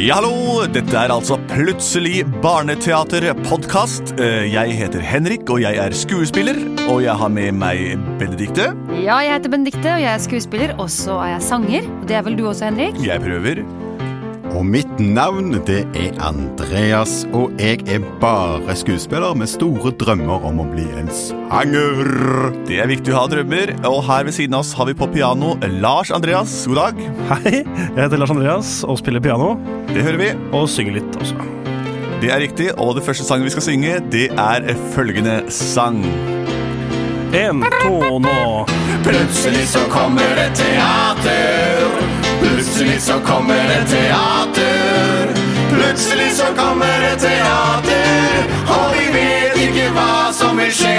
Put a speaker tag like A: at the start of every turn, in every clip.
A: Ja, hallo! Dette er altså Plutselig barneteater-podkast. Jeg heter Henrik, og jeg er skuespiller. Og jeg har med meg Benedikte.
B: Ja, jeg heter Benedikte, og jeg er skuespiller, og så er jeg sanger. Og det er vel du også, Henrik?
A: Jeg prøver.
C: Og mitt navn det er Andreas, og jeg er bare skuespiller med store drømmer om å bli en sanger.
A: Det er viktig å ha drømmer. Og her ved siden av oss har vi på piano Lars Andreas. God dag.
D: Hei, jeg heter Lars Andreas og spiller piano.
A: Det hører vi.
D: Og synger litt også.
A: Det er riktig. Og det første sangen vi skal synge, det er følgende sang.
D: En, to, nå.
C: Plutselig så kommer det teater. Plutselig så kommer det teater. Plutselig så kommer det teater, og vi vet ikke hva som vil skje.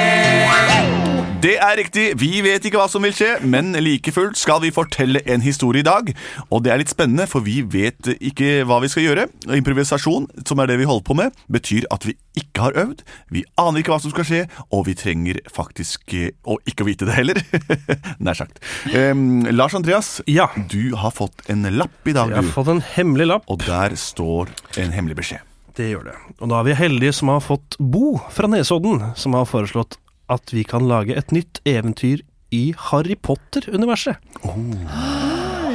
A: Det er riktig. Vi vet ikke hva som vil skje, men like fullt skal vi fortelle en historie i dag. Og det er litt spennende, for vi vet ikke hva vi skal gjøre. Og Improvisasjon, som er det vi holder på med, betyr at vi ikke har øvd, vi aner ikke hva som skal skje, og vi trenger faktisk eh, å ikke vite det heller. Nær sagt. Em, Lars Andreas,
D: Ja.
A: du har fått en lapp i dag,
D: Jeg har
A: du.
D: fått en hemmelig lapp.
A: Og der står en hemmelig beskjed.
D: Det gjør det. Og da er vi heldige som har fått Bo fra Nesodden, som har foreslått at vi kan lage et nytt eventyr i Harry Potter-universet.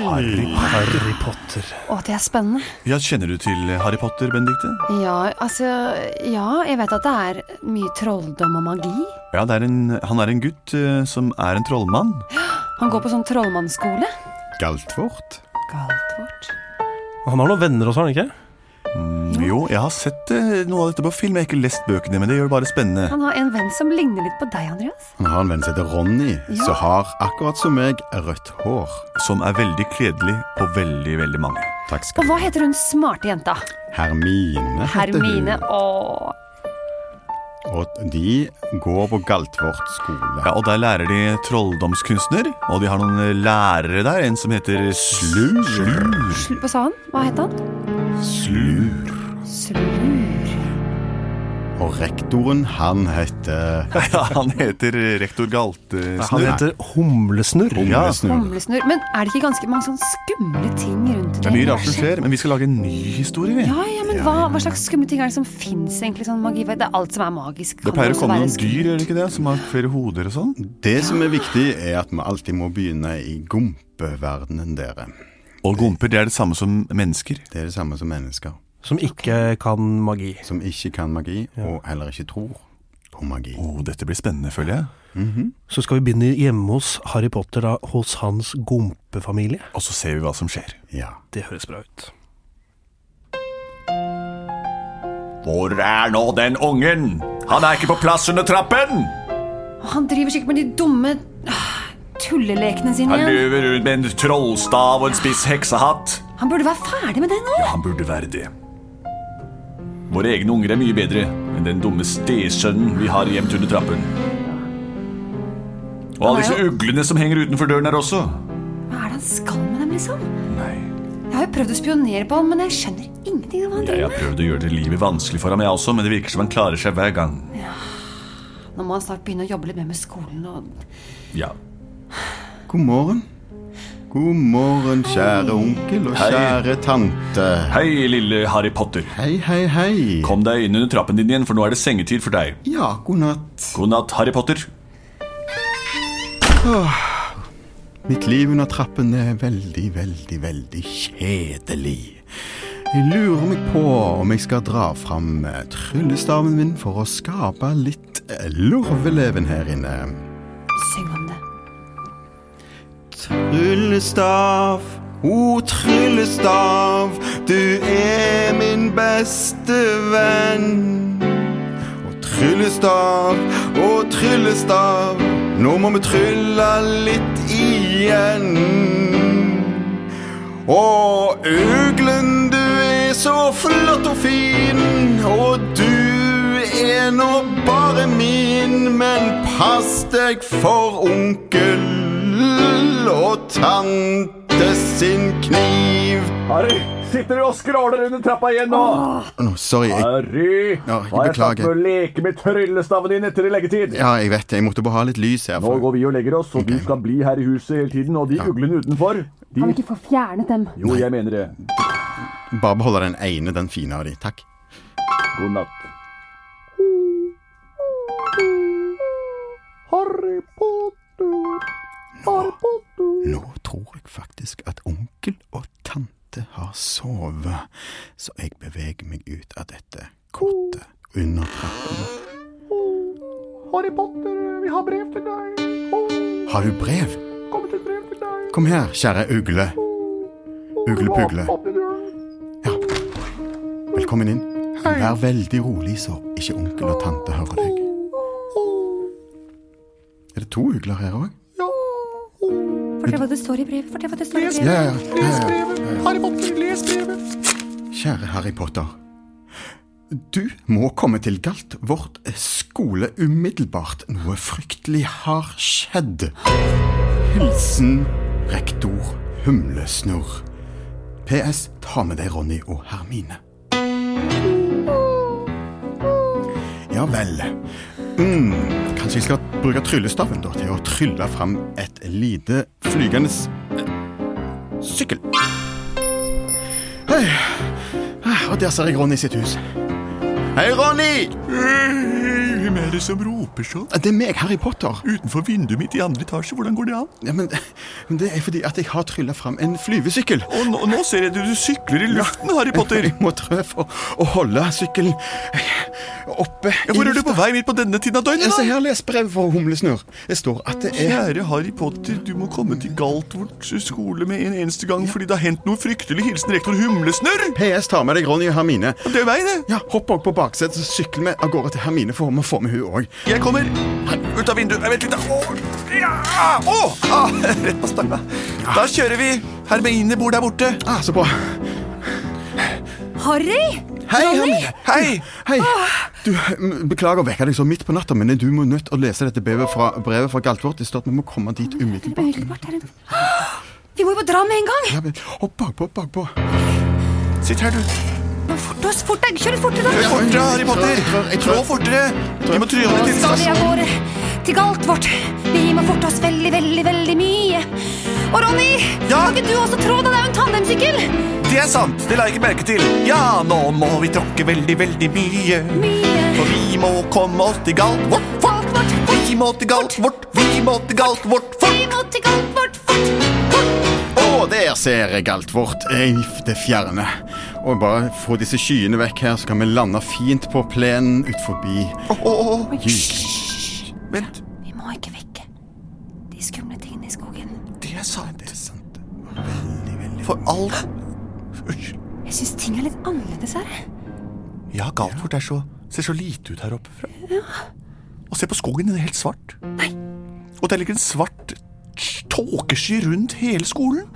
D: Harry Potter.
B: Å, det er spennende.
A: Ja, Kjenner du til Harry Potter, Benedikte?
B: Ja, altså Ja, jeg vet at det er mye trolldom og magi.
A: Ja, det er en, Han er en gutt eh, som er en trollmann.
B: Han går på sånn trollmannsskole.
C: Galtvort?
B: Galt vårt.
D: Han har noen venner også, har han ikke?
A: Jo, jeg har sett eh, noe av dette på film. Jeg har ikke lest bøkene, men det gjør det bare spennende.
B: Han har en venn som ligner litt på deg, Andreas.
C: Han har en venn som heter Ronny, som har, akkurat som meg, rødt hår.
A: Som er veldig kledelig på veldig, veldig mange.
C: Takk
B: Og
C: skal du
B: hva heter hun smarte jenta?
C: Hermine heter hun.
B: Hermine. Å,
C: Og de går på Galtvort skole.
A: Ja, Og der lærer de trolldomskunstner, og de har noen eh, lærere der. En som heter Slur. Slur.
B: hva sa han? Hva het han?
A: Slur.
B: Slur.
C: Og rektoren, han heter
A: Ja, han heter rektor
D: Han
A: Galtesnurr.
D: heter Humlesnurr.
C: Humlesnurr.
B: Humlesnurr. Men er det ikke ganske mange sånn skumle ting rundt
A: Det er mye rart som skjer, men vi skal lage en ny historie, vi.
B: Ja, ja, men hva, hva slags skumle ting er det som fins egentlig sånn magi? Det er alt som er magisk.
A: Det
B: kan
A: pleier å
B: også
A: komme
B: være
A: noen
B: skummelt.
A: dyr, gjør det ikke det? Som har flere hoder og sånn.
C: Det som er viktig, er at vi alltid må begynne i gompeverdenen dere.
A: Og gomper, det er det samme som mennesker.
C: Det er det samme som mennesker
D: Som ikke kan magi.
C: som ikke kan magi, og heller ikke tror på magi.
A: Å, dette blir spennende, føler jeg.
D: Så skal vi begynne hjemme hos Harry Potter, da, hos hans gompefamilie.
A: Og så ser vi hva som skjer.
C: Ja.
D: Det høres bra ut.
A: Hvor er nå den ungen? Han er ikke på plass under trappen!
B: Og han driver sikkert med de dumme ah, tullelekene sine igjen.
A: løver rundt med en trollstav og en spiss heksehatt.
B: Han burde være ferdig med det nå.
A: Han burde være det. Våre egne unger er mye bedre enn den dumme stesønnen vi har gjemt under trappen. Og alle disse uglene som henger utenfor døren her også.
B: Hva er det han skal med dem, liksom?
A: Nei,
B: Jeg har jo prøvd å spionere på han, men jeg skjønner ingenting av hva han
A: jeg
B: driver
A: har
B: med.
A: prøvd å gjøre det livet vanskelig for ham, jeg også, men det virker som han klarer seg hver gang.
B: Nå må han snart begynne å jobbe litt mer med skolen og
A: Ja.
C: God morgen. God morgen, kjære onkel og
A: Hei.
C: kjære tante.
A: Hei, lille Harry Potter.
C: Hei, hei, hei.
A: Kom deg inn under trappen din igjen, for nå er det sengetid for deg.
C: Ja, god natt.
A: God natt, Harry Potter.
C: Mitt liv under trappen er veldig, veldig, veldig kjedelig. Jeg lurer meg på om jeg skal dra fram eh, tryllestaven min for å skape litt eh, lorveleven her inne.
B: synge om det.
C: Tryllestav, o tryllestav, du er min beste venn. Og tryllestav, å tryllestav, nå må vi trylle litt igjen. Og øglen, du er så flott og fin, og du er nå bare min. Men pass deg for onkel og tante sin kniv.
E: Harry, sitter du og skråler under trappa igjen nå?
C: Nå, sorry, jeg,
E: Harry,
C: Ja, jeg
E: har jeg sagt
C: beklager.
E: med å leke med tryllestaven din etter i leggetid?
C: ja, jeg vet det. Jeg måtte bare ha litt lys her.
E: Nå
C: For,
E: går vi og legger oss, og du skal bli her i huset hele tiden. Og de uglene utenfor,
B: Kan
E: de
B: vi ikke få fjernet dem?
E: Jo, jeg mener det.
C: bare beholde den ene, den fine av de. Takk.
E: God natt. Harry Potter, Harry Potter.
C: Nå tror jeg faktisk at onkel og tante har sovet, så jeg beveger meg ut av dette kottet under trappen.
E: Harry Potter, vi har brev til deg.
C: Har du brev?
E: Kommer til et brev til deg.
C: Kom her, kjære ugle. Uglepugle.
E: Åpne døren.
C: Ja. Velkommen inn. Vær veldig rolig, så ikke onkel og tante hører deg. Er det to ugler her òg?
B: Fortell hva det står i brevet. Fortell hva det står i brevet.
C: Ja, ja, ja, ja.
E: Harry Potter, les brevet.
C: Kjære Harry Potter. Du må komme til Galt, vårt skole, umiddelbart. Noe fryktelig har skjedd. Hilsen rektor Humlesnurr. PS. Ta med deg Ronny og Hermine. Ja vel. Mm, kanskje jeg skal bruke tryllestaven da, til å trylle fram et lite flygende s- eh, sykkel. Hei. Ah, Og der ser jeg Ronny sitt hus. Hei, Ronny!
A: Eh, Hvem er det som roper sånn?
C: Ah, Det er meg, Harry Potter.
A: Utenfor vinduet mitt i andre etasje, hvordan går det an?
C: Ja, men, men Det er fordi at jeg har trylla fram en flyvesykkel.
A: Og nå, nå ser jeg du, du sykler i luften, Harry Potter.
C: Jeg må trø for å holde sykkelen eh, oppe
A: Ja, hvor er du på vei midt på denne tiden av døgnet?
C: Se
A: da?
C: her, les brev fra Humlesnurr. Det står at det er
A: Kjære Harry Potter, du må komme til Galtvort skole med en eneste gang fordi det har hendt noe fryktelig. Hilsen rektor Humlesnørr.
C: PS tar med deg Ronny og Hermine.
A: Og Det er meg, det.
C: Ja, Hopp også på baksetet, så sykler vi av gårde til Hermine, for vi må få med hun òg.
A: Jeg kommer ut av vinduet. Nei, Vent litt, da. Å, ja! Å! Ah, rett på stanga. Da kjører vi. Hermine bor der borte.
C: Ah, så bra.
B: Harry!
C: Hei, Hermine.
A: Hei!
C: Hei. Du, m- beklager å vekke deg så midt på natta, men du må nødt å lese dette brevet fra, brevet fra Galtvort. Det står at vi må komme dit umiddelbart.
B: Umiddelbart er det Vi må jo bare dra med en gang!
C: Ja, men Hopp bakpå, bakpå.
A: Sitt her, du.
B: Men Fort oss, fort deg! Kjør fortere,
A: Trå
B: da!
A: fortere, Harry Potter. Trå fortere. Vi må trylle til
B: Skal vi av gårde til galt vårt? Vi må forte oss veldig, veldig, veldig mye. Og Ronny,
A: Ja?
B: kan ikke du også trå? Det er jo en tandemsykkel!
A: Det er sant. Det la jeg ikke merke til. Ja, nå må vi tråkke veldig, veldig mye.
B: Mye.
A: For vi må komme oss til Galtvort.
B: Galt vårt, fort!
A: Vi må til Galtvort. Vi må til Galtvort.
B: Vi må til galt vårt, fort!
C: Å, der ser jeg Galtvort i det fjerne. Og bare få disse skyene vekk her, så kan vi lande fint på plenen ut forbi
A: Å, å, å.
C: Hysj.
A: Vent.
B: Vi må ikke vekke de skumle tingene i skogen.
A: Det er sant.
C: Sant. Veldig, veldig
A: For alt Unnskyld.
B: Jeg syns ting er litt annerledes her.
A: Ja, Galtvort er så, ser så lite ut her oppe fra. Og se på skogen, den er helt svart.
B: Nei.
A: Og der ligger en svart t- tåkesky rundt hele skolen.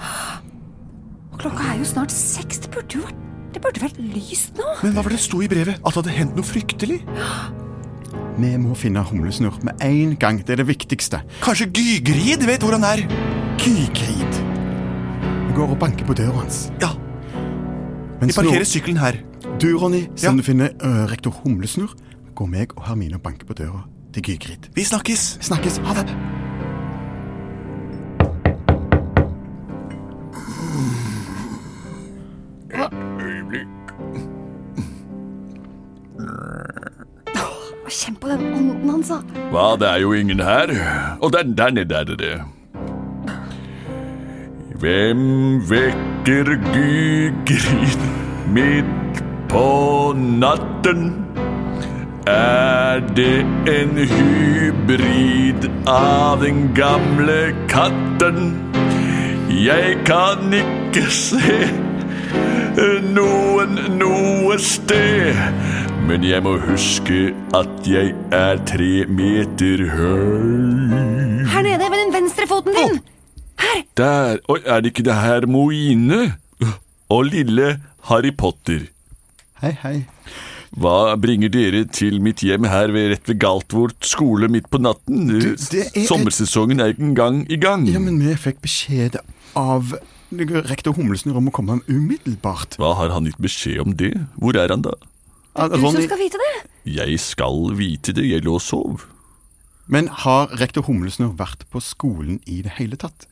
B: Og klokka er jo snart seks. Det burde jo vært, det burde vært lyst nå.
A: Men hva var det det sto i brevet? At det hadde hendt noe fryktelig?
C: Vi må finne humlesnurr med en gang. Det er det viktigste.
A: Kanskje Gygrid vet hvor han er?
C: Kygrid. Vi går og banker på døra hans.
A: Ja,
C: Mens
A: de parkerer
C: nå-
A: sykkelen her.
C: Du, Ronny,
A: Ja.
C: siden du finner ø, rektor Humlesnurr, går meg og Hermine og banker på døra til Gygrid.
A: Vi snakkes.
C: Vi snakkes. Ha det.
B: Å, Kjenn på den ånden hans, da.
F: Hva, det er jo ingen her. Og der, der nede er det det. Hvem vekker Gygrid midt på natten? Er det en hybrid av den gamle katten? Jeg kan ikke se noen noe sted. Men jeg må huske at jeg er tre meter høy.
B: Her nede ved den venstre foten din.
F: Der Oi, er det ikke det her Moine?
A: og lille Harry Potter.
C: Hei, hei.
A: Hva bringer dere til mitt hjem her ved, rett ved Galtvort skole midt på natten?
C: det er-
A: Sommersesongen er ikke engang i gang.
C: Ja, men vi fikk beskjed av rektor Humlesnurr om å komme umiddelbart.
A: Hva har han gitt beskjed om det? Hvor er han da?
C: Ah,
B: Du som
C: Ronny,
B: skal vite det.
A: Jeg skal vite det, jeg lå og sov.
C: men har rektor Humlesnurr vært på skolen i det hele tatt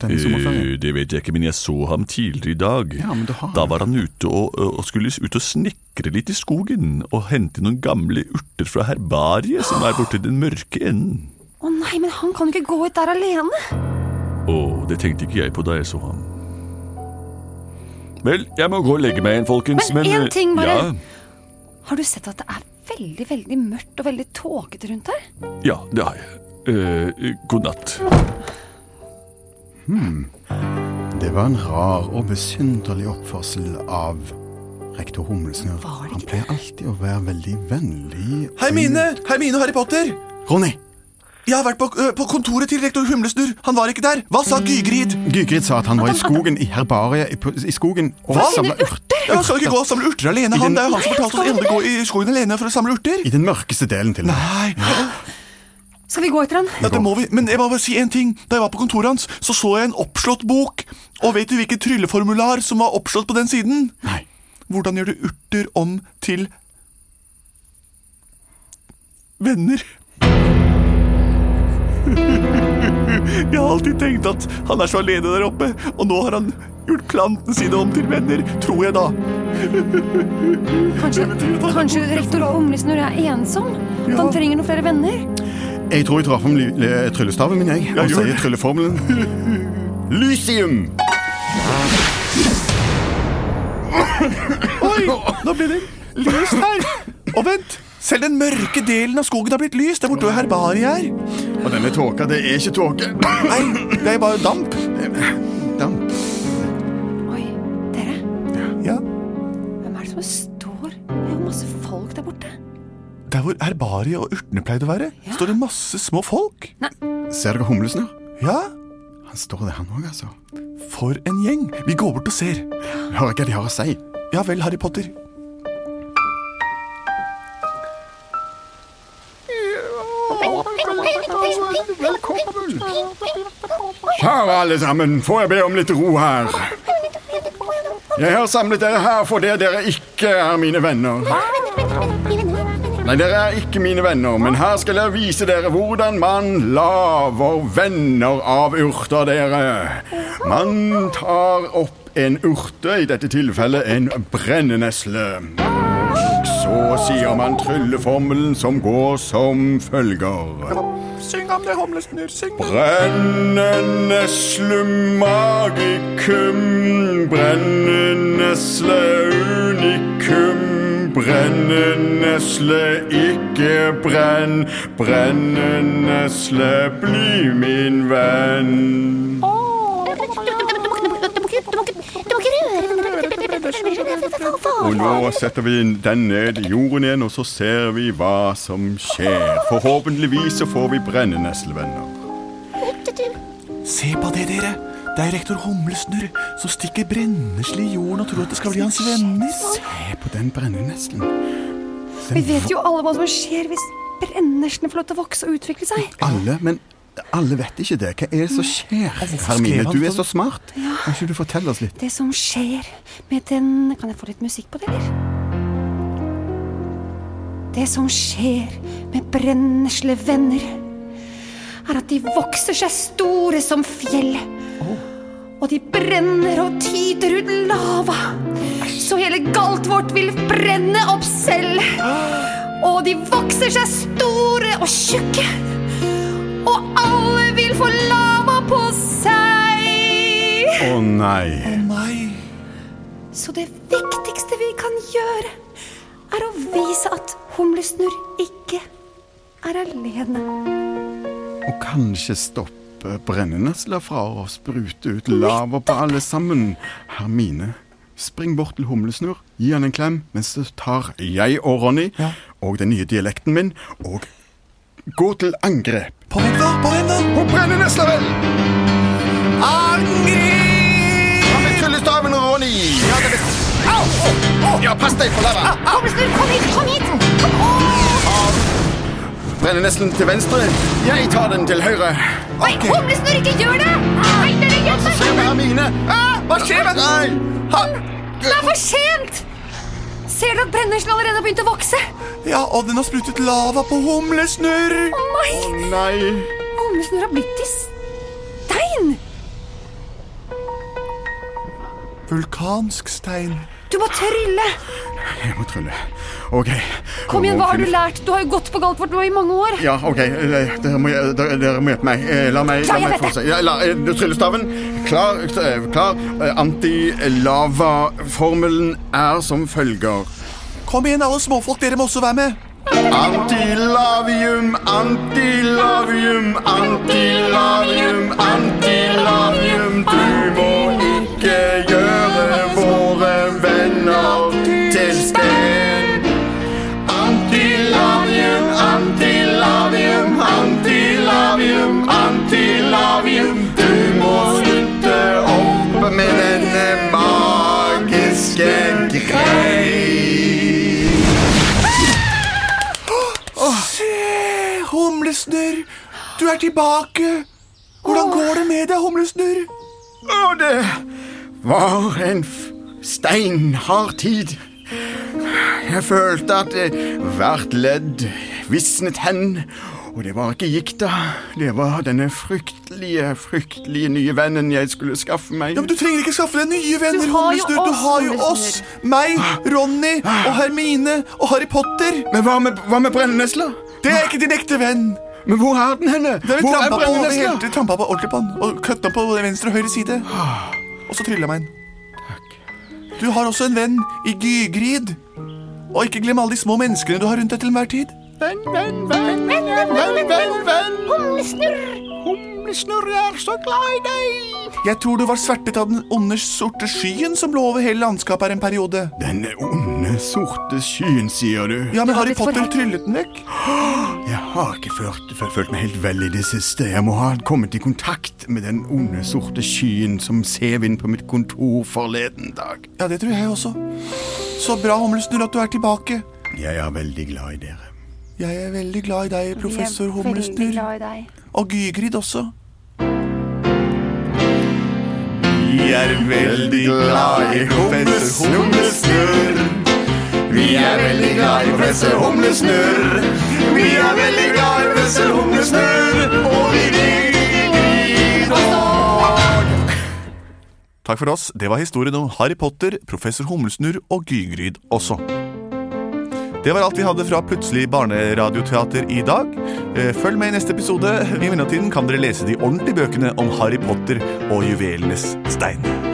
C: denne sommerferien?
A: Eh, det vet jeg ikke, men jeg så ham tidligere i dag.
C: Ja, men du har-
A: Da var han ute og, og skulle ut og snekre litt i skogen og hente noen gamle urter fra herbariet som er borte i den mørke enden.
B: Å nei, men han kan jo ikke gå ut der alene.
A: Å, det tenkte ikke jeg på da jeg så ham. Vel, jeg må gå og legge meg igjen, folkens.
B: Men
A: eh,
B: en ting bare.
A: Ja,
B: Har du sett at det er veldig, veldig mørkt og veldig tåkete rundt her?
A: ja det har jeg. Eh, god natt.
C: Det var en rar og besynderlig oppførsel av rektor Humlesnurr.
B: Var det
C: Han
B: ikke
C: pleier alltid å være veldig vennlig.
E: Hermine! Hermine og Harry Potter!
C: Ronny!
E: Jeg har vært på, ø, på kontoret til rektor Humlesnurr. Han var ikke der. Hva sa Gygrid?
C: Gygrid sa at han var i skogen, i herbariet, i, på- i skogen. og
E: Hva?
C: samlet
E: Finne
C: urter.
E: Ja, han skal ikke gå og samle urter alene. Han, det er jo han som fortalte oss å gå i skogen alene for å samle urter.
C: I den mørkeste delen til og med.
E: Nei,
B: Skal vi gå etter han?
E: dette må vi. Men jeg må bare si en ting. Da jeg var på kontoret hans, så så jeg en oppslått bok. Og vet du hvilken trylleformular som var oppslått på den siden?
C: Nei.
E: Hvordan gjør du urter om til venner? Jeg har alltid tenkt at han er så alene der oppe, og nå har han gjort planten sine om til venner, tror jeg da.
B: Kanskje, kanskje rektor Humlesnurr er ensom? At han trenger noen flere venner?
C: Jeg tror jeg drar fram ly- le- tryllestaven min, jeg, og
E: gjør
C: sier
E: det.
C: trylleformelen. Lysium!
E: Oi, nå blir det lyst her. Og vent, selv den mørke delen av skogen har blitt lys. Der borte hvor herbariet er.
C: Og denne tåka, det er ikke tåke.
E: Nei, det er bare damp.
C: Damp.
B: Oi, dere.
E: Ja,
B: Hvem er det som står? Det er jo masse folk der borte.
E: Der hvor herbariet og urtene pleide å være,
B: Ja.
E: står det masse små folk.
C: Ser dere humlesnurr?
E: Ja,
C: Han står der, han òg, altså.
E: for en gjeng. Vi går bort og ser.
C: Hører jeg hva de har å si.
E: Ja vel, Harry Potter.
G: Velkommen!
C: Kjære alle sammen, får jeg be om litt ro her? Jeg har samlet dere her fordi dere ikke er mine venner. Nei, dere er ikke mine venner, men her skal jeg vise dere hvordan man laver venner av urter, dere. Man tar opp en urte, i dette tilfellet en brennenesle. Så sier man trylleformelen som går som følger.
E: Syng om det, humlesnurr. Syng om
C: Brennenesle magicum, brennenesle unikum, brennenesle ikke brenn, brennenesle bli min venn.
G: Du må ikke røre den
C: Og nå setter vi den ned i jorden igjen, og så ser vi hva som skjer. Forhåpentligvis så får vi brenneneslevenner.
E: Se på det, dere. Det er rektor Humlesnurr som stikker brennesle i jorden og tror at det skal bli hans venner.
C: Se på den brenneneslen.
B: Vi vet jo alle hva som skjer hvis brenneslene får lov til å vokse og utvikle seg.
C: Alle, men alle vet ikke det. Hva er det som skjer?
E: skrev
C: Hermine,
E: han
C: du er
E: sånn?
C: så smart. Kan ikke du fortelle oss litt?
B: Det som skjer med den Kan jeg få litt musikk på det, eller? Det som skjer med brenneslevenner, er at de vokser seg store som fjell. Og de brenner og tyter ut lava. Så hele galt vårt vil brenne opp selv. Og de vokser seg store og tjukke. Og alle vil få lava på seg.
C: Å nei.
E: Nei.
B: Så det viktigste vi kan gjøre, er å vise at humlesnurr ikke er alene.
C: Og kanskje stoppe brennenesler fra å sprute ut lava på alle sammen. Hermine, spring bort til Humlesnurr, gi han en klem, mens du tar jeg og Ronny
E: Ja.
C: og den nye dialekten min, og gå til angrep.
E: På hvem da? På hvem da?
C: På brennenesler, vel!
E: Angrip!
C: Med tryllestaven og Ronny!
E: Ja, det
C: Ja, pass deg for lava!
B: Kobbersnurr, kom hit! Kom hit! Kom Åh!
C: Brenner nesten til venstre. Jeg tar den til høyre.
B: Nei, humlesnurr, ikke gjør det! Nei, dere hjelper
C: Se med
B: meg!
C: Hermine! Ah, hva skjer med deg? Han
B: Det er for sent! Ser du at brenneslen allerede har begynt å vokse?
E: Ja, og den har sprutet lava på humlesnurr!
B: Å nei!
C: Nei.
B: Humlesnurr har blitt til stein!
E: Vulkansk stein.
B: Du må trylle!
H: Jeg må trylle. OK.
B: Kom igjen, hva har du lært? Du har jo gått på Galtvort nå i mange år.
C: Ja, OK. eh, Dere må, eh, dere, dere må hjelpe meg. Eh, La meg,
B: Ja, jeg
C: la
B: vet
C: meg
B: det.
C: fortsette. Ja, la- eh, Tryllestaven. Klar. eh, klar. Eh, Antilava-formelen er som følger.
E: Kom igjen, alle småfolk, dere må også være med.
C: Antilavium, antilavium, antilavium, antilavium. Du må ikke gjøre våre venner til sten. Antilavium, antilavium, antilavium, antilavium. Du må slutte opp med denne magiske grei.
E: Se, humlesnurr, du er tilbake. Hvordan går det med deg, humlesnurr?
C: Og det var en f- steinhard tid. Jeg følte at eh, hvert ledd visnet hen. Og det var ikke gikta. Det var denne fryktelige, fryktelige nye vennen jeg skulle skaffe meg.
E: Ja, men Du trenger ikke skaffe deg nye venner,
B: Du har jo
E: humlesnurr. Du
B: oss,
E: har jo oss.
B: humlesnurr.
E: Meg, Ronny og Hermine og Harry Potter.
C: Men hva med, hva med brennesla?
E: Det er ikke din ekte venn.
C: Men hvor er den henne?
E: Det har vi
C: Hvor
E: trampa på, over
C: brennesla?
E: helt- vi trampa på ordentlig på den og kutta på både venstre og høyre side. Og så trylla meg inn. Du har også en venn i Gygrid. Og ikke glem alle de små menneskene du har rundt deg til enhver tid.
C: Venn, venn, venn, venn, venn, venn, venn.
B: Humlesnurr!
C: Humlesnurr er så glad i deg.
E: Jeg tror du var svertet av den onde sorte skyen som lå over hele landskapet her en periode.
C: Denne onde, sorte skyen, sier du.
E: Ja, men Harry
B: litt for
E: Potter
B: høyt.
E: tryllet den vekk.
C: Jeg har ikke følt, føl- følt meg helt vel i det siste. Jeg må ha kommet i kontakt med den onde, sorte skyen som sev inn på mitt kontor forleden dag.
E: Ja, det tror jeg også. Så bra, Humlesnurr, at du er tilbake.
C: Jeg er veldig glad i dere.
E: Jeg er veldig glad i deg, professor
B: Veldig
E: Humlesnurr.
B: glad i deg.
E: Og Gygrid også.
C: Vi er veldig glad i professor Humlesnurr. Vi er veldig glad i professor Humlesnurr. Vi er veldig glad i professor Humlesnurr. Og vi digger
E: Takk for oss. Det var historien om Harry Potter, professor Humlesnurr og Gygryd også. Det var alt vi hadde fra Plutselig barneradioteater i dag. Eh, Følg med i neste episode. I mellomtiden kan dere lese de ordentlige bøkene om Harry Potter og juvelenes stein.